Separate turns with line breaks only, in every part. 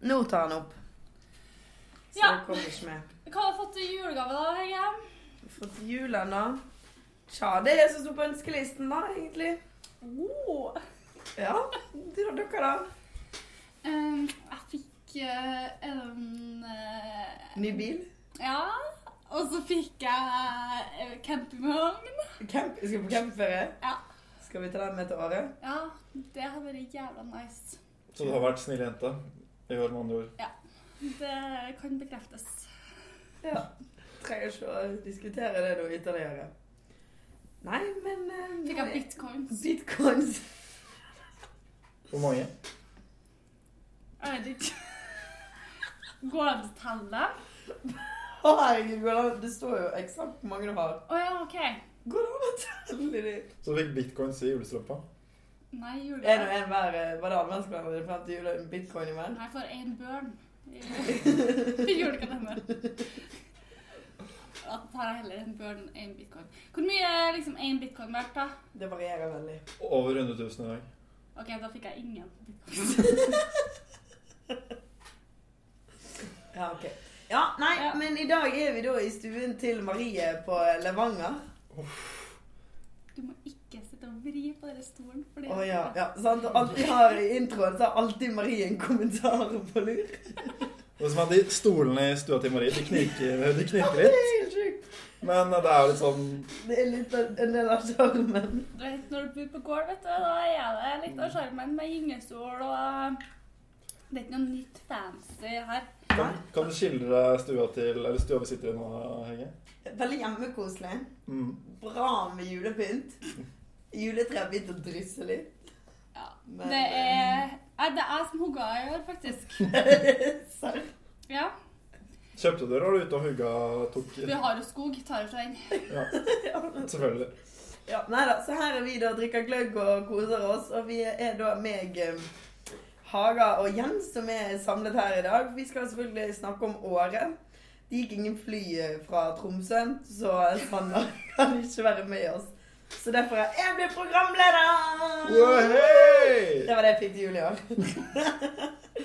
Nå tar han opp. Så
Ja.
det kommer ikke med.
Hva har du fått i julegave, da, Hege?
For til julen, da Tja, det er det som sto på ønskelisten, da, egentlig.
Oh.
Ja, det var dere, da.
Um, jeg fikk eh, en eh,
Ny bil.
Ja. Og så fikk jeg eh, campingvogn.
Camp. Skal vi på campingferie?
Ja.
Skal vi ta den med til året?
ja. Det har vært jævla nice.
Så du har vært snill jente i år, med andre ord.
Det kan bekreftes.
Ja. Trenger ikke å diskutere det noe ytterligere. Nei, men eh, nå
Fikk jeg
er-
bitcoins?
Bitcoins.
Hvor mange?
Jeg vet ikke. Går det an å telle?
Å, herregud, går det an- det står jo eksakt hvor mange du har.
Å ja, OK.
Går det an å telle de?
Så du fikk bitcoins i julestrømpa.
Nei,
En og
julegave.
en hver eh, var det adventskalender frem til jul og en bitcoin i hver?
Jeg får én børn i i julekalender. Da tar jeg heller en børn enn en bitcoin. Hvor mye er liksom én bitcoin verdt, da?
Det varierer veldig.
Over 100 000 i dag.
OK, da fikk jeg ingen. bitcoin.
Ja, ok. Ja, nei,
Ja.
men i dag er vi da i stuen til Marie på Levanger.
Du må ikke sitte og vri på den stolen. fordi-
Å ja, ja, sant? Og alltid har i introen så har alltid Marie en kommentar på lur.
Det som er de stolene i stua til Marie, de knirker, de knirker
Det er
litt.
helt sjukt.
Men det er jo litt sånn
Det er litt av, en del av sjarmen.
Du vet, når du bor på gård, vet du, da er det litt av sjarmen med gyngestol og eh, Det er ikke noe nytt fancy her.
Kan, kan du skildre stua til Eller stua vi sitter i nå, Hege?
Veldig hjemmekoselig.
Mm.
Bra med julepynt. Juletreet har begynt å drysse litt.
Ja.
Men, eh,
det er Nei, Det er jeg som hugga i år, faktisk.
Serr?
Ja.
Kjøpte du, eller var du ute og hugga tok
Vi har jo skog. Tar jo fra den.
Ja, selvfølgelig.
Ja, nei da, så her er vi da, drikker gløgg og koser oss, og vi er da meg, eh, Haga og Jens som er samlet her i dag. Vi skal selvfølgelig snakke om året. Det gikk ingen fly eh, fra Tromsø, så Sander kan ikke være med oss. Så derfor er jeg blitt programleder!
Wahey!
Det var det jeg fikk til jul i år.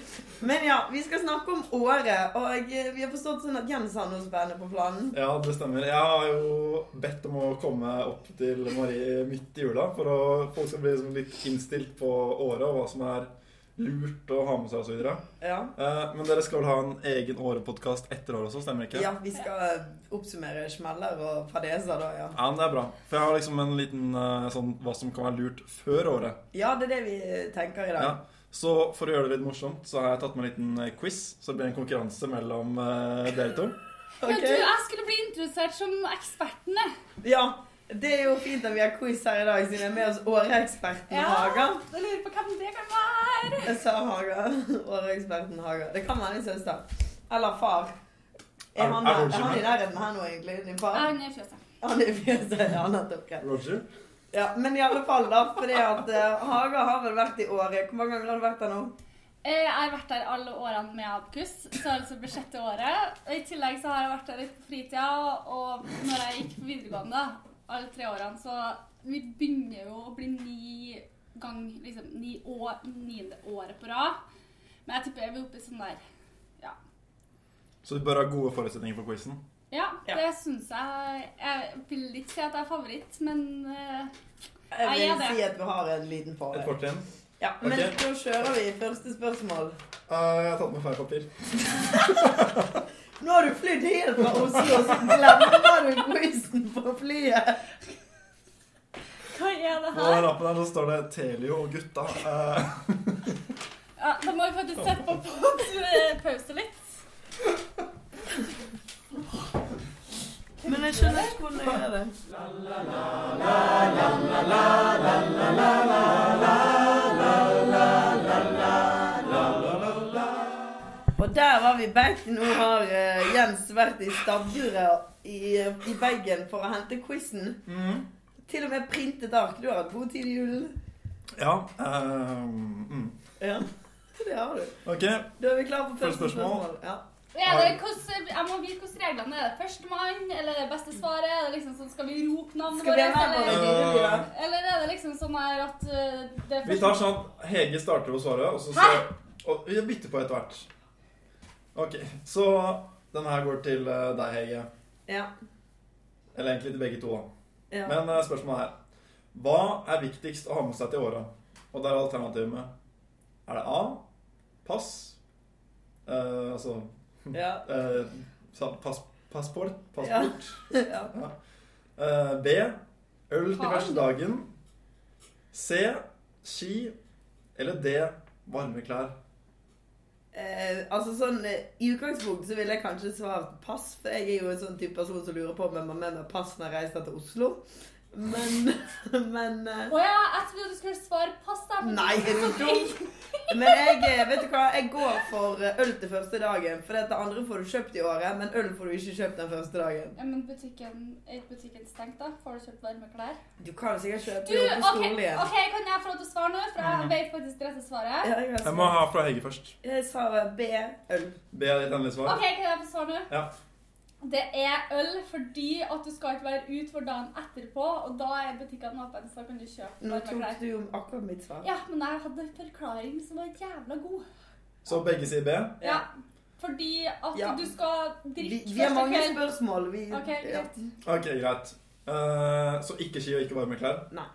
Men ja, vi skal snakke om året, og eh, vi har forstått sånn at Jens har noe spennende på planen.
Ja, det stemmer. Jeg har jo bedt om å komme opp til Marie midt i jula for å folk skal bli liksom litt innstilt på året og hva som er lurt å ha med seg osv.
Ja.
Eh, Men dere skal vel ha en egen årepodkast etter året også, stemmer ikke?
Ja, vi skal eh, oppsummere smeller og fadeser da, ja.
Ja, men det er bra. For jeg har liksom en liten eh, sånn hva som kan være lurt før året.
Ja, det er det vi eh, tenker i dag.
Ja. Så for å gjøre det litt morsomt, så har jeg tatt med en liten eh, quiz. Så det blir en konkurranse mellom eh, dere to.
Ja,
Ok.
du, jeg skulle bli introdusert som eksperten, jeg.
ja, det er jo fint at vi har quiz her i dag, siden jeg er med oss åreeksperten
Ja.
Haga.
Jeg lurer på hvem det kan være.
Jeg sa Haga. Åreeksperten Haga. Det kan være din søster. Eller far. Er
Er-
han,
er
er,
Roger
han
med?
i nærheten her nå, egentlig? Din
Ja,
far?
han er i fjøset.
Han er i fjeset. Ja, nettopp. greit.
Roger?
Ja, men i alle fall, da. Fordi at eh, Haga har vel vært i året. Hvor mange ganger har du vært der nå?
Eh, Jeg har vært der alle årene med Abkus, så altså det sjette året. Og I tillegg så har jeg vært der litt på fritida, og når jeg gikk på videregående, alle tre årene, så vi begynner jo å bli ni gang, liksom ni år, niende året på rad. Men jeg tipper vi er oppe i sånn der Ja,
Så du bør ha gode forutsetninger for quizen.
ja
Ja.
det syns jeg Jeg vil ikke si at jeg er favoritt, men eh,
Jeg
Jeg
vil
er det.
si at vi har en liten
Et
fordel.
fortrinn.
Ja, men
Ok.
da kjører vi første spørsmål.
Eh, jeg har tatt med feil papir.
Nå har du flydd helt fra Oslo, så glemmer du quizen på flyet.
hva er det
På
her?
lappen her så står det 'Telio og gutta'. Eh,
Ja, da må vi faktisk sette på pa- pause litt.
Men jeg skjønner ikke hvordan jeg gjør det. Og der var vi back. Nå har eh, Jens vært i stabburet i, i bagen for å hente quizen.
mm.
Til og med printet ark. Du har hatt god tid i julen.
Ja. eh, mm.
Ja, det har du.
Ok.
Da er vi klare for første
Første spørsmål.
spørsmål. Ja.
Er det, hvordan, jeg må vite hvordan reglene er. Er det Førstemann, eller det beste svaret? Er det liksom sånn, Skal vi rope navnet
Skal vi
vårt?
ha med
Eller,
våre dyredyr? da?
eller er det liksom sånn her at uh, det er
Vi tar sånn Hege starter å svare, og så
Hæ?
ser og vi bytter på etter hvert. Ok, så den her går til eh, deg, Hege.
Ja.
Eller egentlig til begge to. da.
ja.
Men eh, spørsmålet er Hva er viktigst å ha med seg til åra? Og der er alternativene. Er det A. Pass. Eh, altså
ja.
eh, sa- pass, Passport.
Ja.
Passport.
ja.
Eh, B. Øl til
Har.
første dagen. C. Ski. Eller D. Varme klær.
Eh, altså sånn, eh, I utgangspunktet så ville jeg kanskje svart pass, for jeg er jo en sånn type person som lurer på om jeg må med meg pass når jeg reiser til Oslo. Men, men eh,
Å ja, jeg trodde du skulle svare pass, da. men-
Nei, er du dum? Men jeg, eh, vet du hva, jeg går for eh, øl til første dagen. For det andre får du kjøpt i året, men øl får du ikke kjøpt den første dagen.
Ja, men butikken, er ikke butikken stengt, da? Får du kjøpt varme klær?
Du kan jo sikkert kjøpe
Du,
det oppe i
OK,
Storli igjen.
ok, kan jeg få lov til å svare nå? For jeg vet faktisk det rette svaret.
Ja, jeg, har
Jeg må ha fra Hege først.
svar. jeg sa eh, B. Øl.
B er ditt endelige svar.
OK, kan jeg få svare nå?
Ja.
Det er øl fordi at du skal ikke være ute for dagen etterpå, og da er butikkene åpne, så da kan du kjøpe
Nå
varme klær.
tok du jo akkurat mitt svar.
Ja, men jeg hadde en forklaring som var jævla god.
Så begge sier B.
Ja, fordi at
Ja.
du skal
Vi,
drikke
vi har mange
første kveld.
spørsmål. Vi,
Ok, greit.
Ok, greit. Eh, så ikke ski og ikke varme klær.
Nei.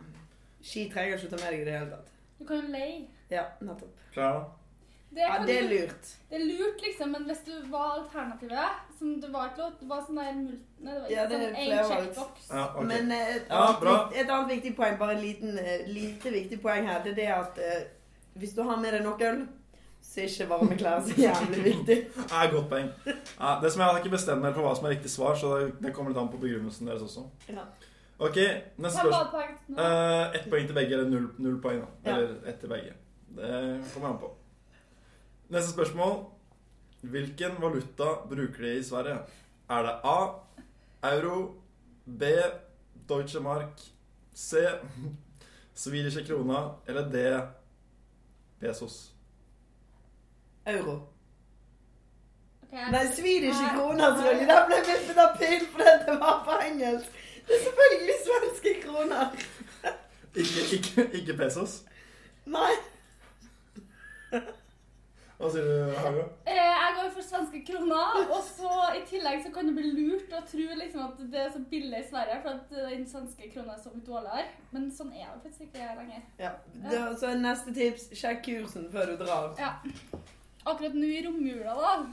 Ski trenger ikke å ta med deg i det hele tatt.
Du kan jo leie.
Ja, nettopp.
Klær, da?
Det,
Ja,
kan
det er
du,
lurt.
det er lurt, liksom, men hvis du var alternativet som det var ikke lov, det var sånn der mult- Nei, det var
Ja,
ikke
det er
sånn
flere
en
valg.
checkbox.
Ja, ok.
Men eh, et,
Ja,
annet,
bra.
vikt- et annet viktig poeng, bare en liten, eh, lite viktig poeng her, det er det at eh, hvis du har med deg nok øl, så er ikke varme klær så jævlig viktig.
Nei, godt poeng. Nei, det som Jeg har ikke bestemt meg for hva som er riktig svar, så det- det kommer litt an på begrunnelsen deres også.
Ja.
Ok, neste
Hva var
spørsmål.
poenget nå?
Uh, ett poeng til begge, eller null, null poeng. da
Ja.
Eller ett til begge. Det kommer an på. Neste spørsmål. Hvilken valuta bruker de i Sverige? Er det A. Euro. B. Deutsche Mark. C. Swedish krona. Eller D. Pesos.
Euro.
Ok, jeg-
Nei, swedish
Nei.
kroner, selvfølgelig. Der ble jeg vippet av pinn fordi det var på engelsk. Det er selvfølgelig svenske kroner.
Ikke, ikke, ikke pesos.
Nei.
Hva sier du, Haga?
Eh, Jeg går for svenske kroner, og så i tillegg så kan du bli lurt og tro liksom at det er så billig i Sverige, for at eh, den svenske krona er så mye dårligere. Men sånn er det faktisk ikke lenger.
Ja. Da, så neste tips, sjekk kursen før du drar.
Ja. Akkurat nå i romjula, da,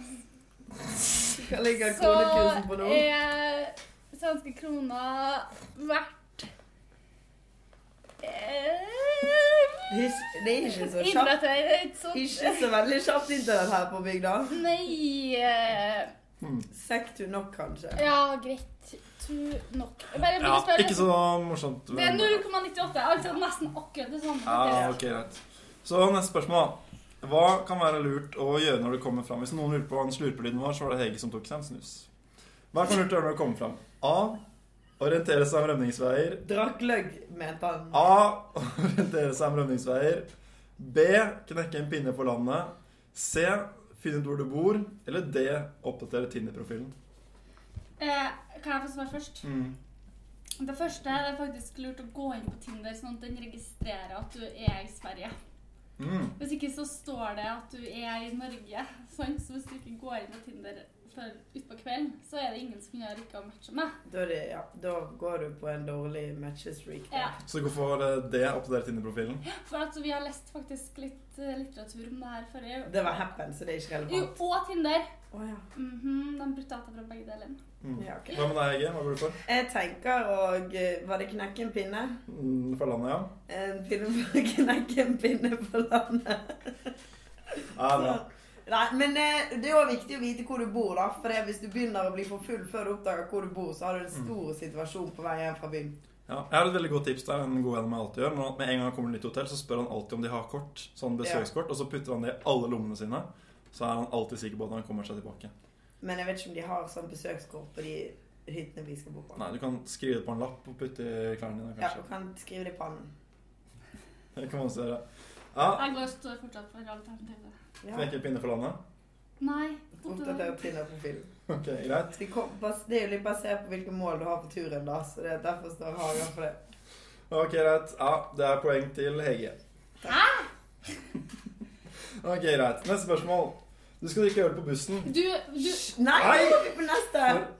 Hva ligger
så eh,
kronekursen på nå?
er svenske krona verdt eh,
Hys- Det er ikke så kjapt.
Innrett er ikke sånn
Ikke så veldig kjapt internett her på bygda.
Nei eh,
Hmm.
Sekk du nok, kanskje.
Ja, greit. Tu nok. Bare
Ja,
begynn å spørre.
ikke så morsomt.
Det er 0,98. Altså nesten akkurat det samme.
Ja, Ah, ok, greit. Så neste spørsmål. da. Hva kan være lurt å gjøre når du kommer fram? Hvis noen lurer på hva den slurpelyden var, så var det Hege som tok seg en snus. Hva kan lurt å gjøre når du kommer fram? A. Orientere seg om rømningsveier.
Drakk løgg, mente han.
A. Orientere seg om rømningsveier. B. Knekke en pinne på landet. C. Finne ut hvor du bor. Eller D. Oppdatere Tinder-profilen.
Eh, kan jeg få svare først?
Mm.
Det første det er faktisk lurt å gå inn på Tinder, sånn at den registrerer at du er i Sverige.
Mm.
Hvis ikke så står det at du er i Norge. Sant? Så hvis du ikke går inn på Tinder før utpå kvelden, så er det ingen som gjør ikke å matche med.
Da, er det, ja, da går du på en dårlig matchestreak.
Ja.
Så gå for eh, D. Oppdatere Tinder-profilen.
For at vi har lest faktisk litt eh, litteratur om det her forrige
Det var happen, så det er ikke
Jo,
relevant.
og Tinder.
Å ja.
Mhm, de brutata fra begge deler.
Mm.
ja ok.
Hva med deg, Hege? Hva går du for?
Jeg tenker å eh, Var det knekke en pinne?
Mm, fra landet, ja?
En pinne for å knekke en pinne på landet.
Ja, bra.
Nei, men eh, det er jo viktig å vite hvor du bor, da. For det, hvis du begynner å bli for full før du oppdager hvor du bor, så har du en
Mm.
stor situasjon på vei hjem fra byen.
Ja, jeg har et veldig godt tips der. En god venn av meg alltid gjør. Men at med en gang han kommer til et nytt hotell, så spør han alltid om de har kort. Sånn besøkskort. Og så putter han det i alle lommene sine. Så er han alltid sikker på at han kommer seg tilbake.
Men jeg vet ikke om de har sånn besøkskort på de hyttene vi skal bo på.
Nei, du kan skrive det på en lapp og putte i klærne dine,
Ja, du
kanskje.
kan skrive det i pannen.
Det kan man også gjøre. Ja,
Jeg går står fortsatt for alternativet.
Ja.
knekke pinne for landet.
Nei.
Oppdater Tinder-profilen.
Ok, greit.
Det Altså, kom- bas- det er jo litt basert på hvilke mål du har på turen, da. Så det er derfor står Hagen for det.
Ok, greit. Ja, det er poeng til Hege.
Hæ?
Ok, greit. Neste spørsmål. Du skal drikke øl på bussen.
Du, du
Hysj, Nei, nå
Nei.
går vi på neste!
For-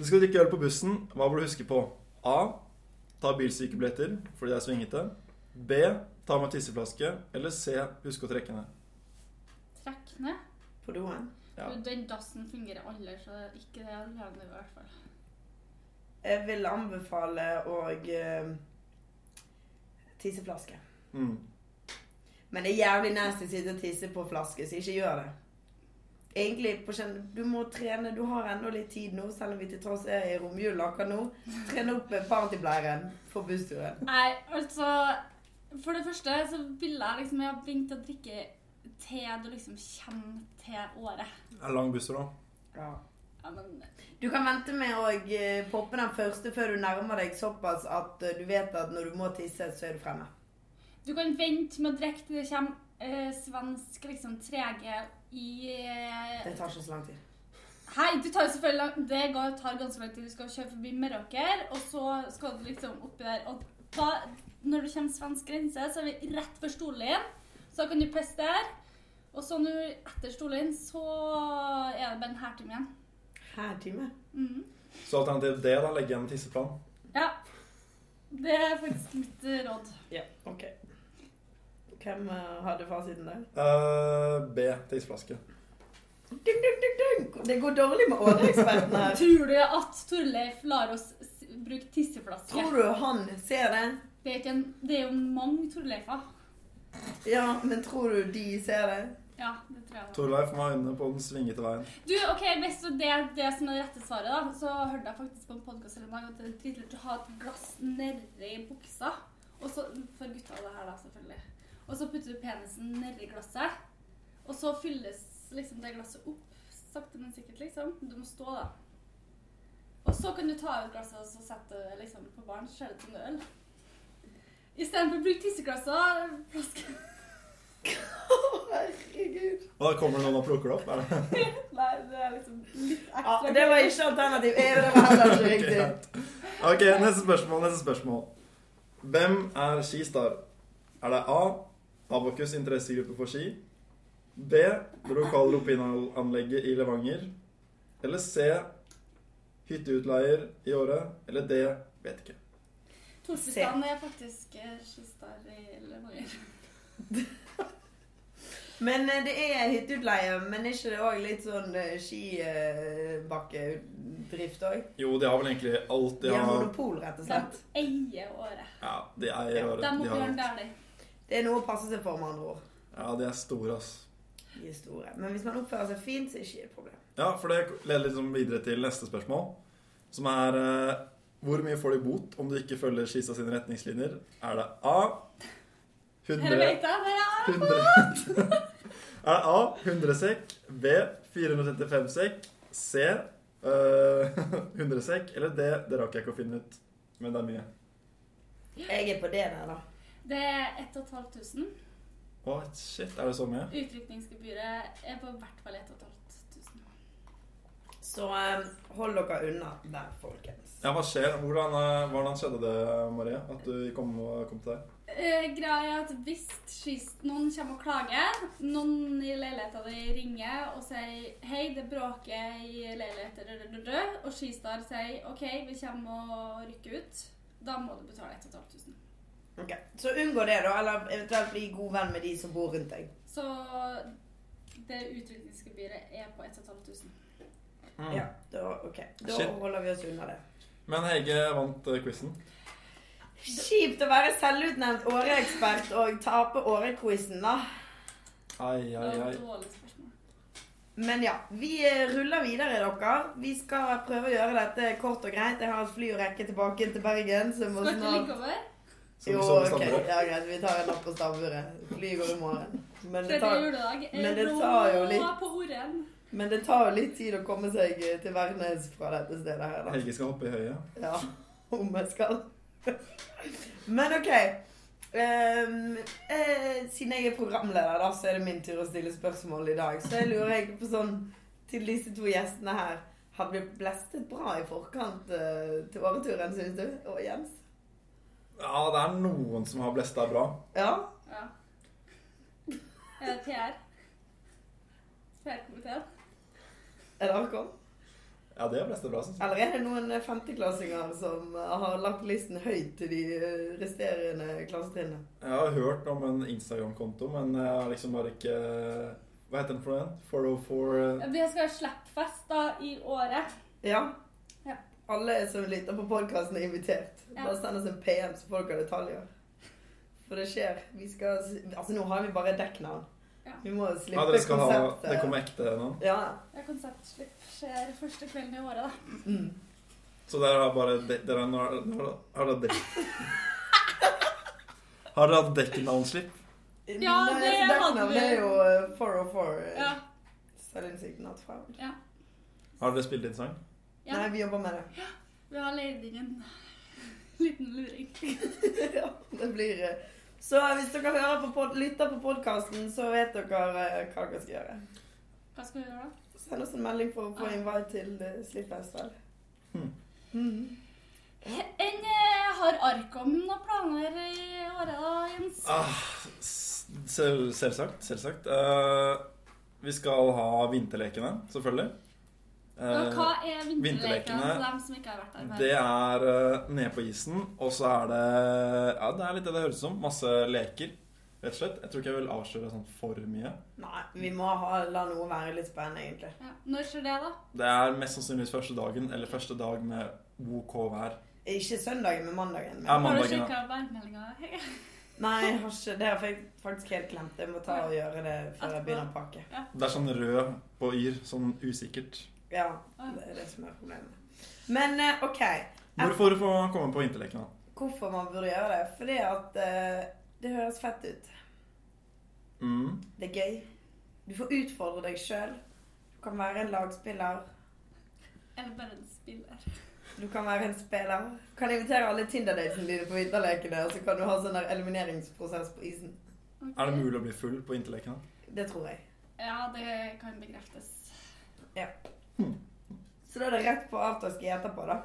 Du skal drikke øl på bussen. Hva bør du huske på? A. Ta bilsykebilletter fordi det er svingete. B. Ta med tisseflaske. Eller C. Husk å trekke ned.
trekk ned.
På doen.
Ja.
Du, Den dassen fungerer aldri, så ikke det er levende i hvert fall.
Jeg vil anbefale å eh, tisse flaske.
Mm.
Men det er jævlig nasty å sitte og tisse på flaske, så ikke gjør det. Egentlig, på kjenn- Du må trene, du har ennå litt tid nå, selv om vi til tross er i romjula akkurat nå. Trene opp eh, partyblæren for bussturen.
Nei, altså For det første så ville jeg liksom Jeg har begynt å drikke te du liksom kommer til året.
Det er lang busstur òg.
Ja.
Ja, men
Du kan vente med å eh, poppe den første før du nærmer deg såpass at eh, du vet at når du må tisse, så er du fremme.
Du kan vente med å drikke til det kommer eh, svensk liksom trege i eh,
Det tar ikke så lang tid.
Hei, du tar jo selvfølgelig lang- Det går- tar ganske lang tid. Du skal kjøre forbi Meråker, og så skal du liksom oppi der. Og da, når du kommer svensk grense, så er vi rett for Storlien. Så da kan du pisse der. Og så nå etter Storlien, så er det bare en hærtime igjen.
Her time.
Mhm.
Så alternativ D, da. Legge igjen en tisseplan.
Ja. Det er faktisk mitt eh, råd.
Ja, ok. Hvem eh, hadde fasiten der?
Eh, B. Tisseflaske.
Dun, dun, dun, dun. Det går dårlig med åreeksperten her.
Tror du at Torleif lar oss s- bruke tisseflaske?
Tror du han ser det?
Det er, ikke en, det er jo mange Torleifer.
Ja, men tror du de ser det?
Ja, det tror jeg.
Torleif må ha øynene på den svingete veien.
Du, ok, Hvis det er det som er det rette svaret, da, så hørte jeg faktisk på en podkast en dag at det er dritlurt å ha et glass nedi buksa. Og så, For gutta det her, da, selvfølgelig. Og så putter du penisen nedi glasset. Og så fylles liksom det glasset opp sakte, men sikkert, liksom. Du må stå, da. Og så kan du ta ut glasset og så sette det liksom på baren, så ser det ut som det er øl. Istedenfor å bruke tisseglasser. flasker.
Herregud.
Og da kommer det noen og plukker det opp? Er det?
Nei, det er liksom litt
Ja,
ekstra.
det var ikke alternativ. Eh, Det var heller ikke
Ok,
riktig.
greit. Ok, neste spørsmål, neste spørsmål. Hvem er skistar? Er det A. Abokus interessegruppe for ski. B. Det lokale alpinanlegget i Levanger. Eller C. Hytteutleier i Åre. Eller D. Vet ikke.
Torpestan er faktisk eh, skistar i Levanger.
Men eh, det er hytteutleie, men er ikke det òg litt sånn eh, skibakkedrift òg?
Jo, de har vel egentlig alt
De har monopol, rett og
De
slett.
eier året.
Ja, de eier Åre.
De og
De har
Bjørn
alt.
Dæhlie.
Det er noe å passe seg for, med andre ord.
Ja, de er store, ass.
De er store. Men hvis man oppfører seg fint, så er det ikke et problem.
Ja, for det leder liksom videre til neste spørsmål, som er eh, Hvor mye får du i bot om du ikke følger Skisa sine retningslinjer? Er det A 100,
Her vet jeg det, ja.
100 Er det A 100 sekk, B 435 sekk, C eh, 100 sekk, eller D Det rakk jeg ikke å finne ut, men det er mye.
Jeg er på det der, da.
Det er 1500.
Å, shit, er det så mye?
Utrykningsgebyret er på hvert fall 1500.
Så eh, hold dere unna der, folkens.
Ja, hva skjer? Hvordan, eh, hvordan skjedde det, Marie, at du kom, kom til deg?
Eh, greia er at hvis skist, noen kommer og klager, noen i leiligheten din ringer og sier hei, det bråker i leiligheten, rød, rød, rød», og Skistar sier ok, vi kommer og rykker ut, da må du betale 1500.
Ok, Så unngå det, da, eller eventuelt bli god venn med de som bor rundt deg.
Så det utrykningsgebyret er på 1500.
Mm.
Ja, da, ok. da
Shit.
holder vi oss unna det.
Men Hege vant eh, quizen.
Kjipt å være selvutnevnt åreekspert og tape årequizen, da.
Ai,
Det
ai,
var
ai.
et dårlig spørsmål.
Men ja, vi eh, ruller videre, dere. Vi skal prøve å gjøre dette kort og greit. Jeg har et fly å rekke tilbake til Bergen. Så jeg må
Skal ikke
snart
ligge over?
Som
Jo,
som
ok.
stammer.
Ja, greit. Vi tar en natt på stamburet. Flyet går i morgen. Men det
Tredje
tar,
juledag. er
men det tar jo
rå
litt-
på ordet.
men det tar jo litt tid å komme seg eh, til Værnes fra dette stedet her, da.
Helge skal hoppe i høyet.
Ja, om jeg skal. Men OK. Ehm, eh, siden jeg er programleder, da, så er det min tur å stille spørsmål i dag. Så jeg lurer egentlig på sånn til disse to gjestene her Hadde vi blæstet bra i forkant eh, til åreturen, syns du? Og Jens?
Ja, det er noen som har blesta bra.
Ja?
Ja. Er det PR? PR
Er dere kommet?
Ja, det er fleste bra, synes jeg.
Eller er det noen eh, femteklassinger som eh, har lagt listen høyt til de eh, resterende klassetrinnene?
Jeg har hørt om en Instagram-konto, men jeg har liksom bare ikke Hva heter den for noe? 404
Vi skal ha slappfest da i året.
Ja.
Ja.
Alle som lytter på podkasten, er invitert.
Ja.
Bare send oss en PM, så folk har detaljer. For det skjer. Vi skal Altså, nå har vi bare dekknavn.
Ja.
Vi må jo slippe
Ja, dere skal ha
konseptet.
Det kommer ekte nå.
Ja.
Ja, Konseptslipp skjer første kvelden i året, da.
Mm.
Så dere har bare de- Dere har- har dere- har dere dekk... Har dere hatt dekknavnslipp?
Ja,
Nei,
det
altså,
hadde
dekknavn
vi.
er jo eh, 404.
Ja.
eh, Selvinnsikt not found.
Har dere spilt inn sang?
ja.
Nei, vi jobber med det.
Vi har leid inn en liten luring.
ja, det blir eh, Så hvis dere hører på pod lytter på podkasten, så vet dere eh, hva dere skal gjøre.
Hva skal vi gjøre da?
Send oss en melding for å få
Ja.
invite til eh, Slippfestival.
Hmm.
Mhm.
Enn eh, har Arkom noen planer i året, da, Jens?
Ah, s- sel- selvsagt. Selvsagt. Eh, vi skal ha vinterlekene, selvfølgelig.
Ja,
Eh,
hva er vinterlekene
vinterlekene,
til dem som ikke har vært der
Det
før?
er eh, nede på isen, og så er det Ja, det er litt det det høres ut som. Masse leker, rett og slett. Jeg tror ikke jeg vil avsløre sånn for mye.
Nei, vi må ha, la noe være litt spennende, egentlig.
Ja. Når skjer det, da?
Det er mest sannsynligvis første dagen, eller første dag med OK vær.
Ikke søndagen, men mandagen. Men.
Har
Ja,
du
mandagen, da.
sjekka værmeldinga?
Nei, jeg har ikke, det har jeg faktisk helt glemt. Jeg må ta og gjøre det før jeg begynner å pakke.
Det er sånn rød på yr, sånn usikkert.
Ja, det er det som er problemet. Men eh, OK,
Hvorfor få komme på vinterlekene?
hvorfor man burde gjøre det? Fordi at eh, det høres fett ut.
Mm.
Det er gøy. Du får utfordre deg sjøl. Du kan være en lagspiller.
Eller bare en spiller?
Du kan være en spiller. Du kan invitere alle Tinder-datene dine på vinterlekene, og så kan du ha sånn der elimineringsprosess på isen.
Ok.
Er det mulig å bli full på vinterlekene?
Det tror jeg.
Ja, det kan bekreftes.
Så da er det rett på afterski etterpå, da.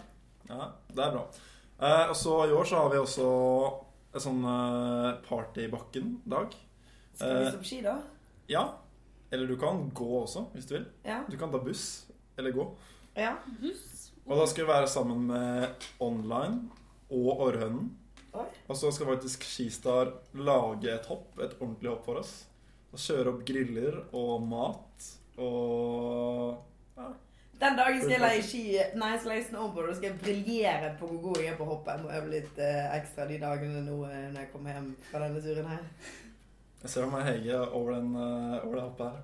Ja, det er bra. Eh, og så i år så har vi også en sånn eh, party i bakken-dag.
Skal vi
Eh.
stå på ski, da?
Ja. Eller du kan gå også, hvis du vil.
Ja.
Du kan ta buss eller gå.
ja.
Buss?
Og da skal vi være sammen med Online og Orrhønen.
Oi.
Og så skal faktisk Skistar lage et hopp, et ordentlig hopp for oss. Og kjøre opp griller og mat og
Den dagen skal jeg leie ski Nei, jeg skal leie snowboard og skal jeg briljere på hvor god jeg er på å hoppe. Jeg må øve litt eh, ekstra de dagene nå eh, når jeg kommer hjem fra denne turen her.
Jeg ser for meg Hege over, den, eh, over det hoppet her.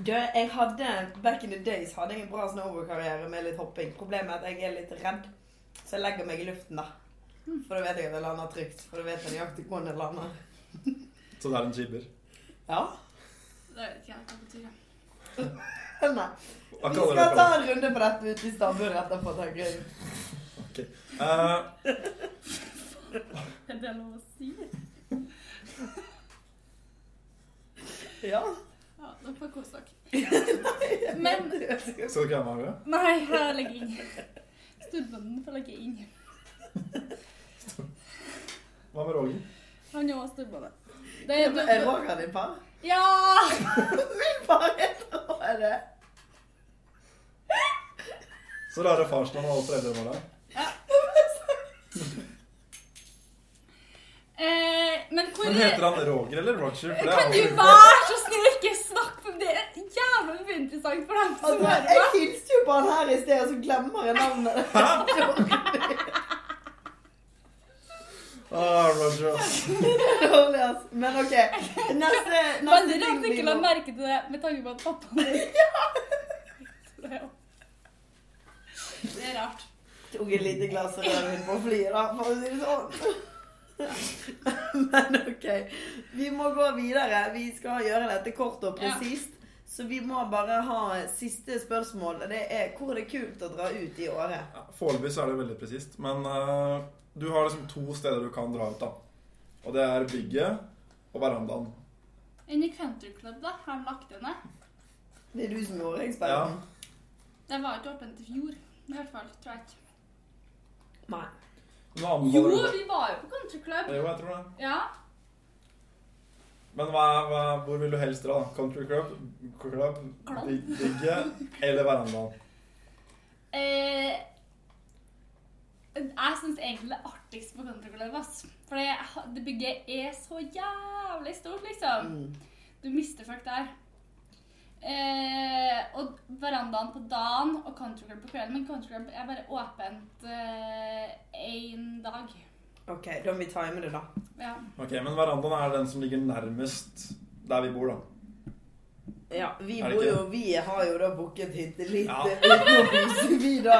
Du, jeg hadde Back in the days hadde jeg en bra snowboardkarriere med litt hopping. Problemet er at jeg er litt redd, så jeg legger meg i luften, da.
Hmm.
For da vet jeg at jeg lander trygt. For da vet jeg nøyaktig hvor jeg lander.
Så det er en jibber.
Ja.
Det vet ikke jeg hva det betyr. ja.
Nei.
Hva
Vi
kaller
skal
dere
ta
det?
en runde på dette ute i Stabburet etterpå, tenker jeg.
Eh,
Er det lov å si?
Ja.
Ja, da får jeg kose dere.
Men
Men-
skal dere være med? Hege?
Nei, jeg legger inn. Studenten får legge inn.
Hva med Roger?
Han er også studbonde. Det er du.
Er Roger din far?
Ja!
Min far heter Roger.
Så lærer farsnavn og alle foreldrene våre.
Eh, men hvor
Men heter han Roger eller Roger? For det
Kan du
er han.
være så snill å ikke snakke om det? Det er jævlig uinteressant for dem som
Altså,
hører
jeg
på.
hilste jo på han her i sted, og så glemmer jeg navnet.
Ah, Roger. ass.
Det er dårlig, ass. Men OK. Neste, neste
Veldig rart ikke la merke til det med tanke på at pappaen din Det er jo- Det er rart.
Tok et lite glass rødvin på flyet, da, for å si det sånn. Men OK. Vi må gå videre. Vi skal gjøre dette kort og
Ja.
presist. Så vi må bare ha siste spørsmål. og Det er hvor er det kult å dra ut i året?
Ja, Foreløpig så er det veldig presist, men eh, du har liksom to steder du kan dra ut, da. Og det er bygget og verandaen.
Inni Country Club da, har de lagt det ned.
Det er du som gjorde eksperten.
Den var ikke åpen til fjor. I hvert fall, tror jeg ikke.
Nei.
Nå anbefaler
Jo,
du det.
vi var jo på Country Club.
Jo, jeg tror det.
Ja.
Men hva, hva, hvor vil du helst dra? da? Country club, club
Club.
big- bigget eller verandaen?
Eh, jeg syns egentlig det er artigst på Country Club. ass. For det, det bygget er så jævlig stort, liksom.
Mm.
Du mister folk der. Eh, og verandaen på dagen og Country Club på kvelden. Men Country Club er bare åpent én dag.
OK, da må vi time det, da.
Ja.
Ok, Men verandaen er den som ligger nærmest der vi bor, da.
Ja, vi
Er det
bor
ikke
jo Vi har jo da booket hytte litt
Ja.
eh, utenom huset, vi, da.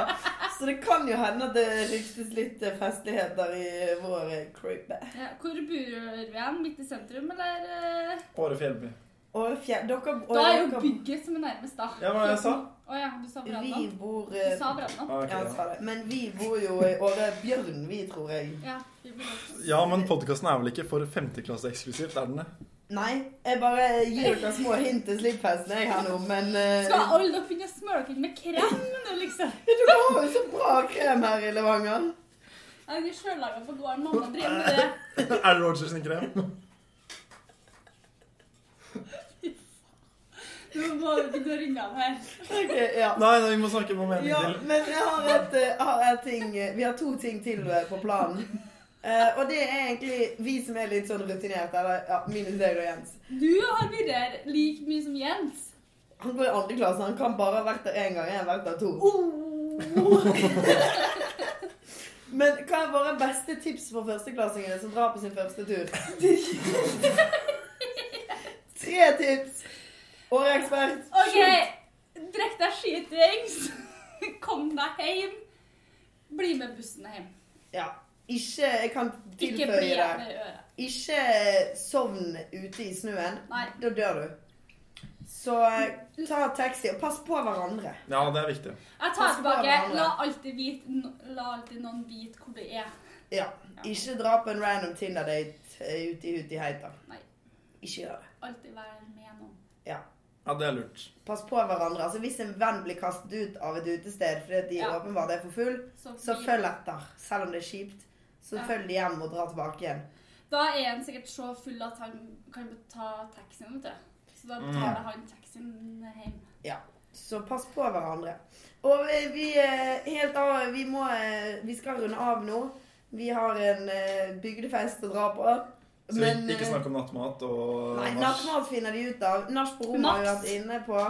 Så det kan jo hende at det ryktes litt eh, festligheter i vår eh, crepe.
Ja, Hvor bor vi hen? Midt i sentrum, eller? eh?
Åre fjellby.
Og fjer... Dere og
Da er jo
dere-
bygget som er nærmest, da.
Ja, hva var det jeg sa?
Å ja, du sa
Vi
verandaen.
bor
Du
eh,
sa verandaen.
Ah, ok,
ja, jeg
ja.
sa det. Men vi bor jo i Åre Bjørn, vi, tror jeg.
Ja, vi bor der.
ja, men podkasten er vel ikke for femteklasse eksklusivt, er den det?
Nei, jeg bare gir dere små hint til slippfesten jeg har nå, men eh,
Skal alle dere begynne å smøre dere inn med krem nå, liksom?
Dere har jo så bra krem her i Levanger.
Nei, de sjøllaga på gården. Mamma driver med det.
er det Rogers sin krem?
Du må ikke dra unna den her.
Ok, ja.
Nei, nei, vi må snakke om en
Ja,
til.
men jeg har, et, eh, har et ting eh, Vi har to ting til eh, på planen. Eh, og det er egentlig vi som er litt sånn rutinerte, eller ja, minus deg og Jens.
Du har virret like mye som Jens.
Han går i andre klasse, han kan bare ha vært der én gang. Jeg har vært der to. Men hva er våre beste tips for førsteklassingene som drar på sin første tur? Tre tips. Åreekspert.
OK, drikk deg skitings. Kom deg hjem. Bli med bussen hjem.
Ja. Ikke Jeg kan
Ikke bli
tilføye
igjen
det.
i øret.
Ikke sovn ute i snøen.
Nei.
Da dør du. Så eh, ta taxi, og pass på hverandre.
Ja, det er viktig.
Jeg tar tilbake. La alltid, vite, la alltid noen vite hvor du er.
Ja. Ikke dra på en random Tinder-date eh, ute i huti heita.
Nei.
Ikke gjør det.
Alltid være med noen.
Ja.
Ja, det er lurt.
Pass på hverandre. Altså Hvis en venn blir kastet ut av et utested fordi at de
Ja.
åpenbart er for full,
Så
så
fint.
følg etter. Selv om det er kjipt, så
Ja.
følg de hjem og dra tilbake igjen.
Da er han sikkert så full at han kan ta taxien, vet du. Så da betaler han taxien hjem.
Så pass på hverandre. Og vi, vi, eh, helt av, vi, må, eh, vi skal runde av nå. Vi har en eh, bygdefest å dra på.
Så
Men,
ikke
eh,
snakk om nattmat og
Nei,
nach.
nattmat finner de ut av. Nach på rommet har vi
Natt.
vært inne på.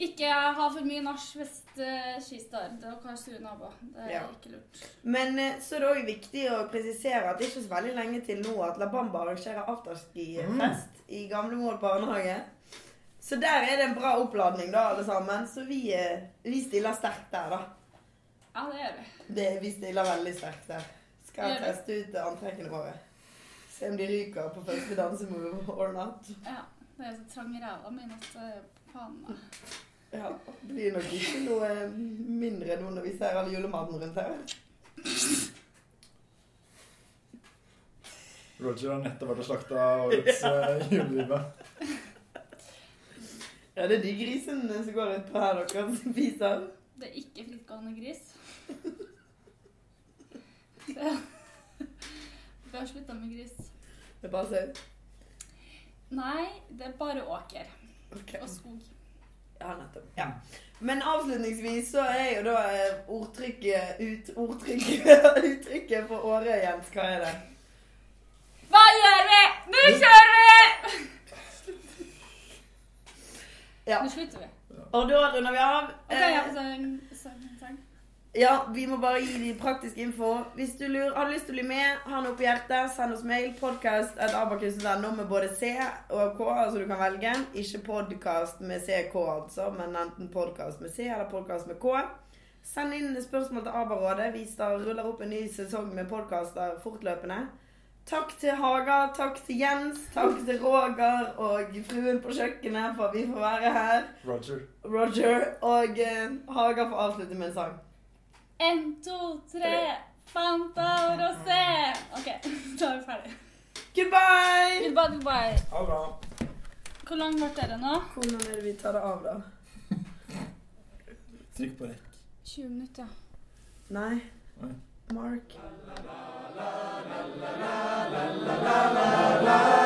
Ikke ha for mye nach hvis eh, skistar. Det kan sure naboer. Det er
Ja.
ikke lurt.
Men eh, så er det òg viktig å presisere at det er ikke så veldig lenge til nå at La Bamba arrangerer afterski-fest i Gamle Mål barnehage. Så der er det en bra oppladning, da, alle sammen. Så vi, eh, vi stiller sterkt der, da.
Ja, det gjør vi.
Det, vi stiller veldig sterkt der. Skal
Gjør det.
teste ut eh, antrekkene våre. Se om de ryker på første dansemove or not.
Ja, det er så trang i ræva mi at eh, faen meg.
Ja, det blir nok ikke noe eh, mindre nå når vi ser all julematen rundt her.
Roger har nettopp vært og slakta årets uh, julelive.
Ja, det er de grisene som går rundt på her, dere som spiser.
Det er ikke frittgående gris. Det. Bør slutte med gris.
Det er bare sau.
Nei, det er bare åker
Ok.
og skog.
Ja, nettopp. Ja. Men avslutningsvis så er jo da eh, ordtrykket ut, Ordtrykket uttrykket for Åre, Jens, hva er det?
Hva gjør vi? Nå kjører vi!
Ja.
Nå slutter vi.
Og da runder vi av.
Ok, ja,
Eh,
sang, sang, sang.
ja, vi må bare gi de praktiske info. Hvis du lurer, har lyst til å bli med, har noe på hjertet, send oss mail. Podkast.abakus.no med både C og K, altså du kan velge. Ikke podkast med CK, altså, men enten podkast med C eller podkast med K. Send inn spørsmål til ABA-rådet. Vi star- ruller opp en ny sesong med podkaster fortløpende. Takk til Haga, takk til Jens, takk til Roger og fruen på kjøkkenet for at vi får være her.
Roger.
Roger og eh, Haga får avslutte med en sang.
En, to, tre. Fanta og rosé. Ok, da er vi ferdig.
Goodbye!
Goodbye, goodbye.
Ha det bra.
Hvor lang ble dere nå?
Hvordan er det vi tar det av, da?
Trykk på rekk.
20 minutter.
Nei.
Nei.
Mark.
la la la la la la la la la la la la la la la